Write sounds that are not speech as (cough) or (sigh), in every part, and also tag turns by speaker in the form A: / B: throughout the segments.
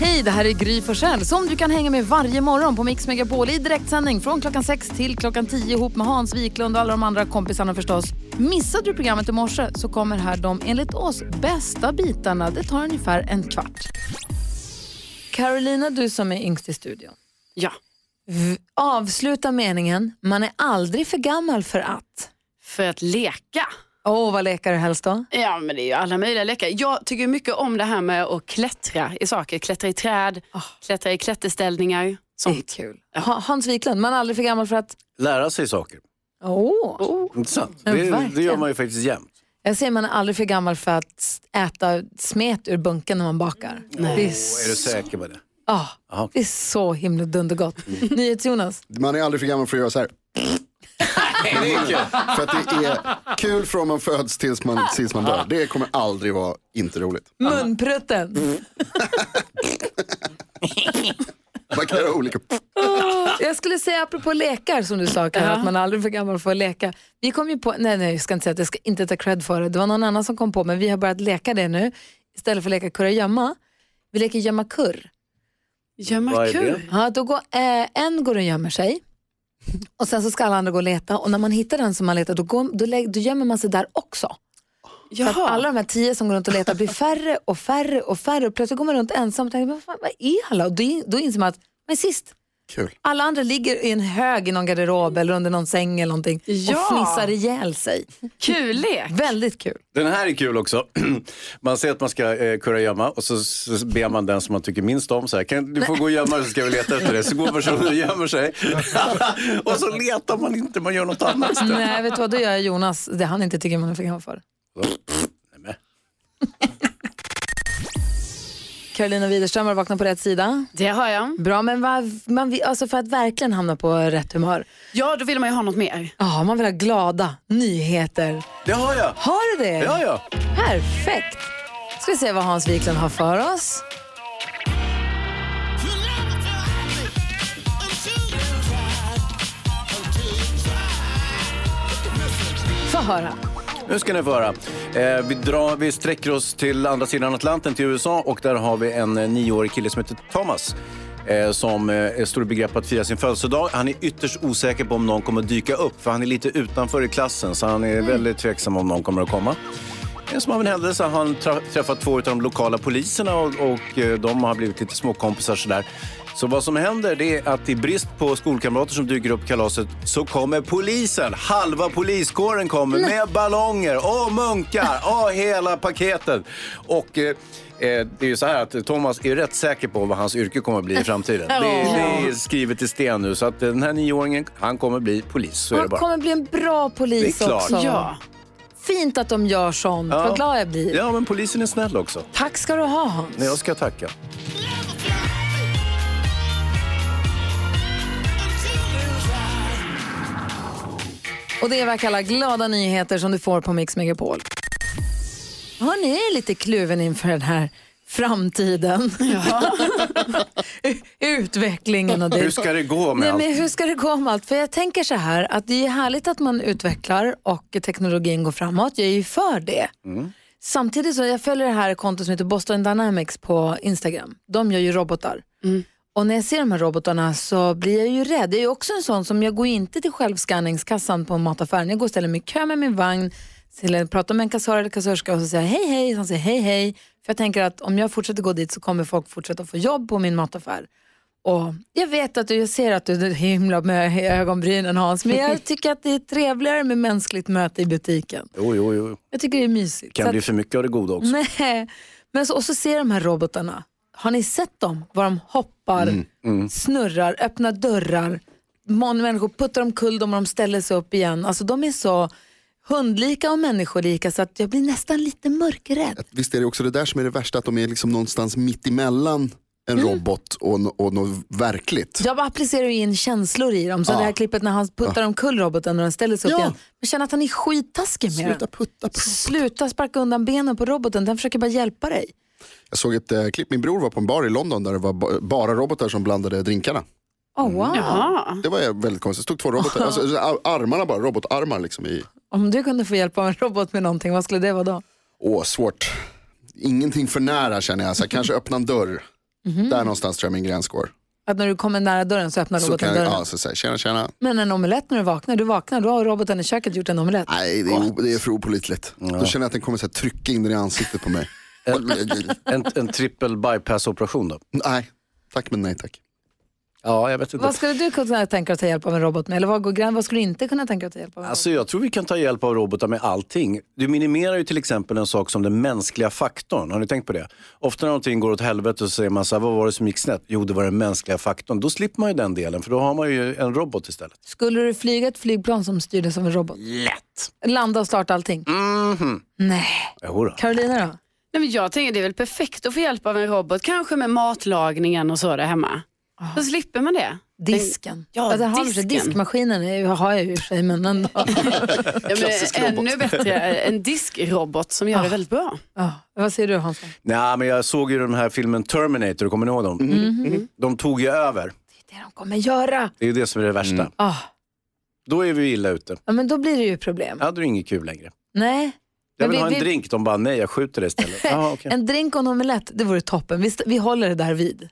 A: Hej, det här är Gry Forssell som du kan hänga med varje morgon på Mix Megapol i direktsändning från klockan 6 till klockan 10 ihop med Hans Wiklund och alla de andra kompisarna förstås. Missade du programmet i morse så kommer här de enligt oss bästa bitarna. Det tar ungefär en kvart. Carolina, du som är yngst i studion.
B: Ja.
A: V- avsluta meningen, man är aldrig för gammal för att.
B: För att leka.
A: Åh, vad lekar du helst då?
B: Ja, men det är ju alla möjliga lekar. Jag tycker mycket om det här med att klättra i saker. Klättra i träd, klättra i klätterställningar. Sånt.
A: kul. Ha, Hans Wiklund, man är aldrig för gammal för att...
C: Lära sig saker.
A: Åh!
C: Intressant.
A: Ja,
C: Det, det
A: verkligen.
C: gör man ju faktiskt jämt.
A: Jag säger man är aldrig för gammal för att äta smet ur bunken när man bakar. Det, är
C: Är du
A: så,
C: säker på det?
A: ah,
C: Jaha.
A: det är så himla dundergott. (laughs) NyhetsJonas,
D: Man är aldrig för gammal för att göra så här. för att det är kul från man föds tills man, tills man dör. Det kommer aldrig vara inte roligt.
A: munprutten.
D: Man kan göra olika.
A: Jag skulle säga apropå lekar som du sa, Karin, att man är aldrig för gammal för att leka. Vi kom ju på, nej nej jag ska inte säga att jag ska inte ta cred för det, det var någon annan som kom på, men vi har börjat leka det nu. Istället för att leka kurragömma, vi leker gömma kurr.
B: Gömma
C: Vad är
B: kul.
A: Ja, då går, eh, en går och gömmer sig och sen så ska alla andra gå och leta och när man hittar den som man letar då, går, då, lä- då gömmer man sig där också. Så att alla de här tio som går runt och letar blir färre och färre och färre och plötsligt går man runt ensam och tänker, vad, fan, vad är alla? Och då, in- då inser man att man är sist.
D: Kul.
A: Alla andra ligger i en hög i någon garderob eller under någon säng eller någonting och
B: Ja.
A: fnissar ihjäl sig.
B: Kul lek.
A: Väldigt kul.
C: Den här är kul också. (clears throat) Man säger att man ska eh, kurragömma och så, så ber man den som man tycker minst om. Så här, kan, du får gå och gömma dig så ska vi leta efter dig. Så går personen och gömmer sig. (laughs) och så letar man inte, man gör något annat. istället.
A: Nej, vet du vad, då gör Mm, jag Jonas det han inte tycker man är för gammal för.
C: Nej, men.
A: Carolina Widerström har vaknat på rätt sida.
B: Det har jag.
A: Bra, men vad, man, vill- alltså för att verkligen hamna på rätt humör.
B: Ja, då vill man ju ha något mer.
A: Ja, man vill ha glada nyheter.
C: Det har jag!
A: Har du det?
C: Det har jag!
A: Perfekt. Ska vi se vad Hans Wiklund har för oss. Få höra.
C: Nu ska ni få höra. Eh, vi, drar, vi sträcker oss till andra sidan Atlanten, till USA och där har vi en eh, nioårig kille som heter Thomas eh, som eh, står i begrepp att fira sin födelsedag. Han är ytterst osäker på om någon kommer att dyka upp för han är lite utanför i klassen så han är väldigt tveksam om någon kommer att komma. Eh, Som av en händelse har han tra- träffat två av de lokala poliserna och, och eh, de har blivit lite småkompisar sådär. Så vad som händer det är att i brist på skolkamrater som dyker upp på kalaset så kommer polisen. Halva poliskåren kommer med ballonger och munkar och hela paketet. Och eh, eh, det är ju så här att Thomas är ju rätt säker på vad hans yrke kommer att bli
A: (laughs)
C: i framtiden. Det, det är skrivet i sten nu så att den här nioåringen han kommer bli polis. Så är det
A: Han
C: bara.
A: kommer bli en bra
C: Det är
A: polis
C: klart.
A: också.
B: Ja.
A: Fint att de gör sånt.
C: Ja.
A: Vad glad jag blir.
C: Ja men polisen är snäll också.
A: Tack ska du ha Hans.
C: Nej, jag ska tacka.
A: Och det är vad jag kallar glada nyheter som du får på Mix Megapol. Hörni, jag är lite kluven inför den här framtiden. (laughs) Utvecklingen och det.
C: Hur ska det gå med
A: Nej,
C: allt?
A: men hur ska det gå om allt? För jag tänker så här att det är härligt att man utvecklar och teknologin går framåt. Jag är ju för det. Samtidigt så jag följer det här kontot som heter Boston Dynamics på Instagram. De gör ju robotar. Och när jag ser de här robotarna så blir jag ju rädd. Jag är ju också en sån som, jag går inte till självskanningskassan på mataffären. Jag går och ställer mig i kö med min vagn, till- pratar med en kassör eller kassörska och så säger jag hej hej. Han säger hej hej. För jag tänker att om jag fortsätter gå dit så kommer folk fortsätta få jobb på min mataffär. Och jag vet att du, jag ser att du är himla med ögonbrynen Hans, men jag tycker att det är trevligare med mänskligt möte i butiken.
C: Jo, jo, jo.
A: Jag tycker det är mysigt.
C: Kan
A: Så
C: bli
A: att-
C: för mycket av det goda också.
A: (laughs) Nej. Men så, och så ser de här robotarna. Har ni sett dem? Var de hoppar,
D: Mm,
A: snurrar, öppnar dörrar. Många människor puttar omkull dem och de ställer sig upp igen. Alltså de är så hundlika och människolika så att jag blir nästan lite mörkrädd.
D: Visst är det också det där som är det värsta, att de är liksom någonstans mitt emellan en robot och, no- och något verkligt.
A: Jag bara applicerar ju in känslor i dem. Så
D: Ja.
A: det här klippet när han puttar omkull roboten och den ställer sig upp
D: Ja.
A: igen. Man känner att han är skittaskig med
D: Sluta
A: den.
D: putta på.
A: Sluta sparka undan benen på roboten, den försöker bara hjälpa dig.
D: Jag såg ett eh, klipp, min bror var på en bar i London där det var ba- bara robotar som blandade drinkarna.
A: Oh,
D: Mm.
A: wow.
B: Ja.
D: Det var eh, väldigt konstigt, det stod två robotar, alltså, ar- armarna bara, robotarmar liksom i,
A: Om du kunde få hjälp av en robot med någonting, vad skulle det vara då?
D: åh svårt. Ingenting för nära känner jag, så här, kanske öppna en dörr.
A: Mhm.
D: Där någonstans tror jag min gräns går.
A: Att när du kommer nära dörren så öppnar
D: Så
A: roboten
D: kan jag,
A: dörren.
D: ja, så säger jag, tjena tjena.
A: Men en omelett när du vaknar, du vaknar, då har roboten i köket gjort en omelett.
D: Nej, det är, det är för opolitligt. Då känner jag att den kommer så här, trycka in den i ansiktet på
A: (laughs)
D: mig.
A: Mm.
C: En, en trippel bypass-operation då?
D: nej, tack men nej tack.
C: Ja, jag vet inte.
A: Vad skulle du kunna tänka dig att ta hjälp av en robot med? Eller vad, går gräns? vad skulle du inte kunna tänka dig att ta hjälp av? en
C: Alltså jag tror vi kan ta hjälp av robotar med allting. Du minimerar ju till exempel en sak som den mänskliga faktorn. Har ni tänkt på det? Ofta när någonting går åt helvete så säger man så här, vad var det som gick snett? Jo, det var den mänskliga faktorn. Då slipper man ju den delen, för då har man ju en robot istället.
A: robot? Skulle du flyga ett flygplan som styrdes av en robot?
C: Lätt!
A: Landa och starta allting?
C: Mhm.
A: Nej.
C: Jo då.
A: Carolina då?
B: Nej, men jag tänker det är väl perfekt att få hjälp av en robot, kanske med matlagningen och så där hemma. Då slipper man det.
A: Disken.
B: Ja,
A: där har vi sig.
B: disken.
A: Diskmaskinen är, har jag ju i och för sig, men ändå. (laughs)
B: Ja,
D: Klassisk
B: men,
D: robot.
B: ännu bättre, en diskrobot som gör det väldigt bra.
A: Ja, vad säger du Hansson?
C: Nej, men jag såg ju den här filmen Terminator, kommer ni ihåg dem? De tog ju över.
A: Mm. Det de kommer göra.
C: Det är ju det som är det värsta.
A: Ah,
C: Då är vi illa ute.
A: ja, men då blir det ju problem.
C: Ja, då är det inget kul längre.
A: Nej.
C: Jag
A: Men
C: vill
A: vi-
C: ha en
A: vi-
C: drink, de bara nej, jag skjuter
A: (laughs)
C: det istället. Jaha, okej.
A: En drink och en omelett, det vore toppen. Vi, st- vi håller det där vid,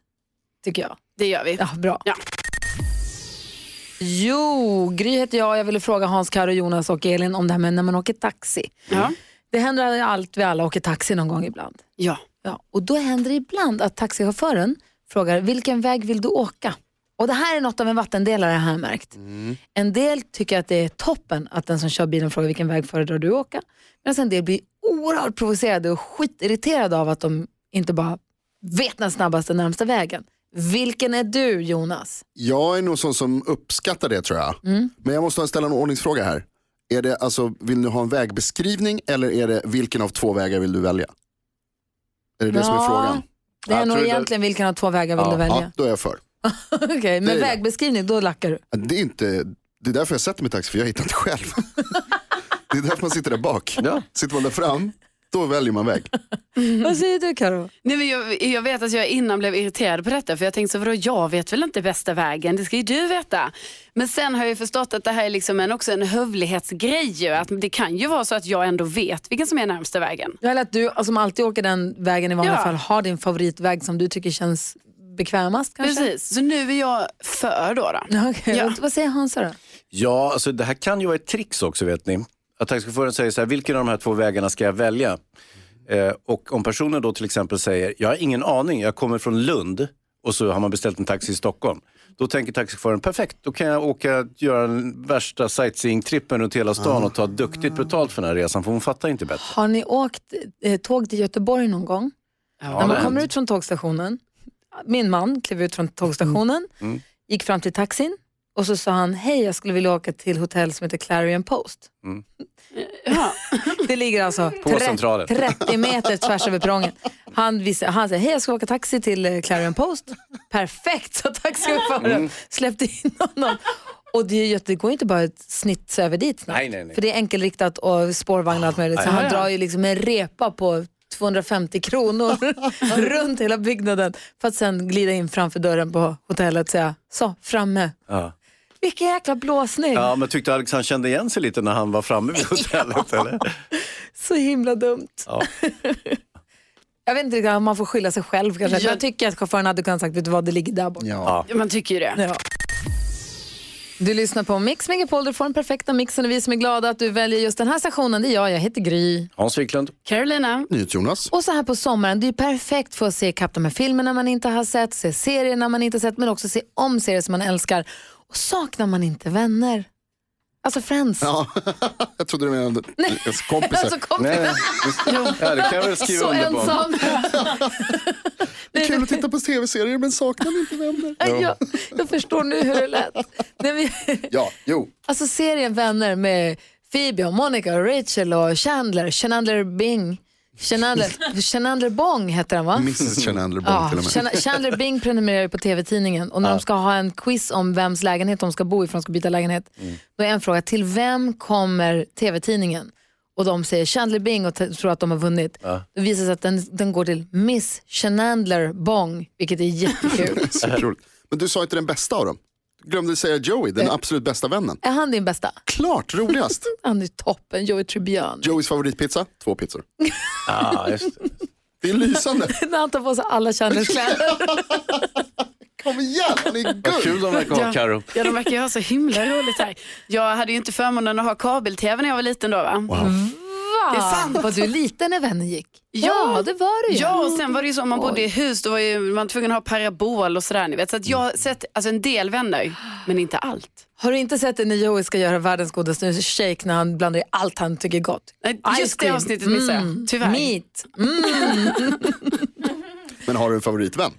A: tycker jag.
B: Det gör vi.
A: Ja, bra.
B: Ja.
A: Jo, Gry heter jag. Jag ville fråga Hans, Karo, Jonas och Elin om det här med när man åker taxi.
B: Ja.
A: Det händer ju allt, vi alla åker taxi någon gång ibland.
B: Ja.
A: Ja, och då händer det ibland att taxichauffören frågar vilken väg vill du åka? Och det här är något av en vattendelare har jag märkt. En del tycker att det är toppen att den som kör bilen frågar vilken väg föredrar du åka? Medan en del blir oerhört provocerade och skitirriterade av att de inte bara vet den snabbaste närmsta vägen. Vilken är du Jonas?
D: Jag är nog sån som uppskattar det tror jag.
A: Mm.
D: Men jag måste ställa en ordningsfråga här. Är det, alltså, vill du ha en vägbeskrivning eller är det vilken av två vägar vill du välja? Är det det som är
A: Ja,
D: frågan?
A: Det är
C: Jag
A: nog
C: tror det-
A: egentligen vilken av två vägar vill
C: Ja,
A: du välja?
D: Ja, då är jag för.
A: (laughs) Okej,
D: det
A: men
D: är det.
A: vägbeskrivning, då lackar du.
D: Det är, inte, det är därför jag sätter mig i taxi, för jag hittar inte själv. det är därför man sitter där bak.
C: Ja.
D: Sitter man där fram, då väljer man väg.
A: (laughs) Vad säger du Karo?
B: Nej, men jag, jag vet att jag innan blev irriterad på detta för jag tänkte så vadå, jag vet väl inte bästa vägen, det ska ju du veta. Men sen har jag ju förstått att det här är liksom en, också en hövlighetsgrej ju, att det kan ju vara så att jag ändå vet vilken som är närmsta vägen.
A: Eller att du som alltid åker den vägen i vanliga
B: Ja.
A: fall har din favoritväg som du tycker känns bekvämast kanske?
B: Precis, så nu är jag för då. då.
A: Ja, (laughs) okej.
B: Ja.
A: Och Vad säger Hansa då?
C: Ja, alltså det här kan ju vara ett trix också vet ni. Att taxichauffören säger så här, vilken av de här två vägarna ska jag välja? Eh, och om personen då till exempel säger, jag har ingen aning, jag kommer från Lund och så har man beställt en taxi i Stockholm. Då tänker taxichauffören, perfekt, då kan jag åka göra den värsta sightseeing-trippen runt hela stan och ta duktigt betalt för den här resan, för hon fattar inte bättre.
A: Har ni åkt eh, tåg till Göteborg någon gång? När
C: det
A: man
C: har
A: kommer ut från tågstationen, min man klev ut från tågstationen,
C: Mm.
A: gick fram till taxin och så sa han, hej jag skulle vilja åka till hotell som heter Clarion Post.
B: Ja.
A: (laughs) Det ligger alltså
C: Mm. På centralen.
A: 30 meter tvärs över perrongen. Han, visste, han säger, hej jag ska åka taxi till eh, Clarion Post. Perfekt, sa taxichauffören.
C: Mm.
A: Släppte in honom. Och det, är ju att det går ju inte bara ett snitt över dit snabbt.
C: Nej, nej, nej.
A: För det är enkelriktat och spårvagn och allt möjligt. Så
C: Ja,
A: han
B: ja.
A: drar ju liksom en repa på 250
C: (laughs)
A: kronor runt hela byggnaden för att sen glida in framför dörren på hotellet och säga, så, framme.
C: Ja.
A: Vilken jäkla blåsning.
C: ja, men tyckte Alex han kände igen sig lite när han var
A: (laughs)
C: framme vid hotellet eller?
A: Så himla dumt.
C: Ja.
A: (laughs) Jag vet inte riktigt om man får skylla sig själv kanske.
B: Ja.
A: Jag tycker att chauffören hade kunnat sagt, vet du vad, det ligger där borta.
D: Ja.
B: Man tycker ju det.
A: Ja. Du lyssnar på Mix Megapol, du får den perfekta mixen och vi som är glada att du väljer just den här stationen, det är jag, jag heter Gry.
C: Hans Wiklund.
B: Carolina,
D: Jonas.
A: Och så här på sommaren, det är ju perfekt för att se ikapp de här filmerna man inte har sett, se serier när man inte har sett, men också se om serier som man älskar. Och saknar man inte vänner? Alltså friends.
D: Ja. jag trodde du menade ens kompisar.
A: Alltså kom
C: Nej, nej. Ja, det kan jag väl skriva
A: så
C: under på.
A: ensam. (laughs)
D: det är kul att titta på tv-serier men saknar inte vänner.
A: jag, jag förstår nu hur det lät. Nej, men, (laughs)
D: Ja, jo.
A: Alltså serien Vänner med Phoebe, och Monica, och Rachel och Chandler. Chandler Bing. Chandler,
D: (laughs)
A: Chandler Bong heter den va?
D: Mrs Chandler Bond
A: Ja,
D: till och med.
A: Chan- Chandler Bing prenumererar ju på TV-tidningen och när de ska ha en quiz om vems lägenhet de ska bo i för de ska byta lägenhet,
D: Mm.
A: då är en fråga till vem kommer TV-tidningen? Och de säger Chandler Bing och t- tror att de har vunnit. Det visar sig att den, den går till Miss Chandler Bong, vilket är
D: (laughs)
A: jättekul.
D: (laughs) Superroligt. Men du sa inte den bästa av dem. Du glömde säga Joey, den absolut bästa vännen.
A: är han din bästa?
D: Klart roligast.
A: Han är toppen, Joey Tribbiani.
D: Joeys favoritpizza, två pizzor.
C: Ja, just det.
D: Det är lysande.
A: (laughs) När han tar på sig alla Chandlers
B: (laughs)
A: kläder.
D: Kom igen, han är
C: Vad
D: guld.
C: kul de verkar ha, Carro.
B: Ja, de verkar ju ha
A: (laughs)
B: så himla roligt här. Jag hade ju inte förmånen att ha kabel-tv när jag var liten då va?
A: Va?
B: Det är sant.
A: Vad du är liten när vännen gick.
B: Ja.
A: det var du ju.
B: Ja, och sen var det ju så om man bodde i hus, då var ju, man var tvungen att ha parabol och sådär. Ni vet. Så att jag har sett alltså, en del vänner, men inte allt.
A: Har du inte sett det när Joey ska göra världens godaste shake när han blandar i allt han tycker är gott?
B: Nej,
A: Ice
B: Just det
A: cream. Mm.
B: avsnittet missade jag, tyvärr.
A: Meat.
D: Men har du en favoritvän?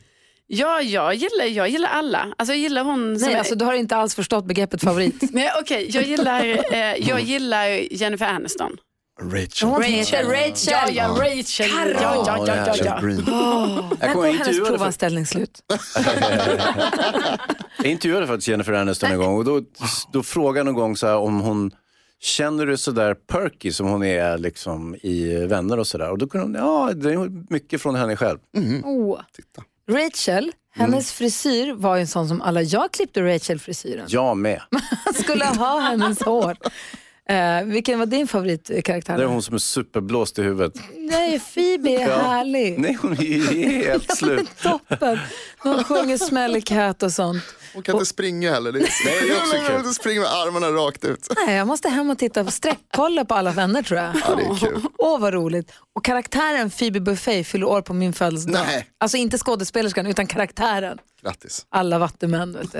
B: Ja, jag gillar, jag gillar alla. Alltså jag gillar hon som
A: Nej,
B: är-
A: alltså du har inte alls förstått begreppet
B: (laughs)
A: favorit.
B: Nej, okej. Jag, gillar, eh, jag gillar Jennifer Aniston.
D: Rachel.
A: Hon heter
B: Ja,
A: Rachel.
B: ja, Rachel. Ja, ja, ja, ja, ja.
D: Green.
C: Jag
A: När
C: kommer
A: går hennes
C: jag intervjuade för
A: provanställning
C: (laughs)
A: slut?
C: Jag intervjuade faktiskt Jennifer Aniston en gång och då, då frågade jag någon gång så här om hon Känner du sådär perky som hon är liksom i Vänner och sådär? Och då kunde hon, ja det är mycket från henne själv.
A: Oh.
D: Titta.
A: Rachel,
C: Mm.
A: hennes frisyr var ju en sån som alla jag klippte Rachel-frisyren.
C: Jag med.
A: Jag (laughs) skulle ha hennes
C: (laughs)
A: hår. Eh, vilken var din favoritkaraktär?
C: Det är hon som är superblåst i huvudet.
A: Nej, Phoebe
D: (laughs)
A: är
C: Ja.
A: härlig.
C: Nej hon är ju helt slut.
A: (laughs) Toppen. Hon sjunger Smelly Cat och sånt.
D: Hon kan inte springa heller. Det är, (laughs)
C: Nej, det är också
D: Hon kan
C: kul.
D: inte springa med armarna rakt ut.
A: Nej, jag måste hem och titta på streckkolla på alla vänner tror jag.
D: Ja, det är kul.
A: Åh vad roligt. Och karaktären Phoebe Buffay fyller år på min födelsedag.
D: Nej.
A: Alltså inte skådespelerskan utan karaktären.
D: Grattis.
A: Alla vattenmän vet du.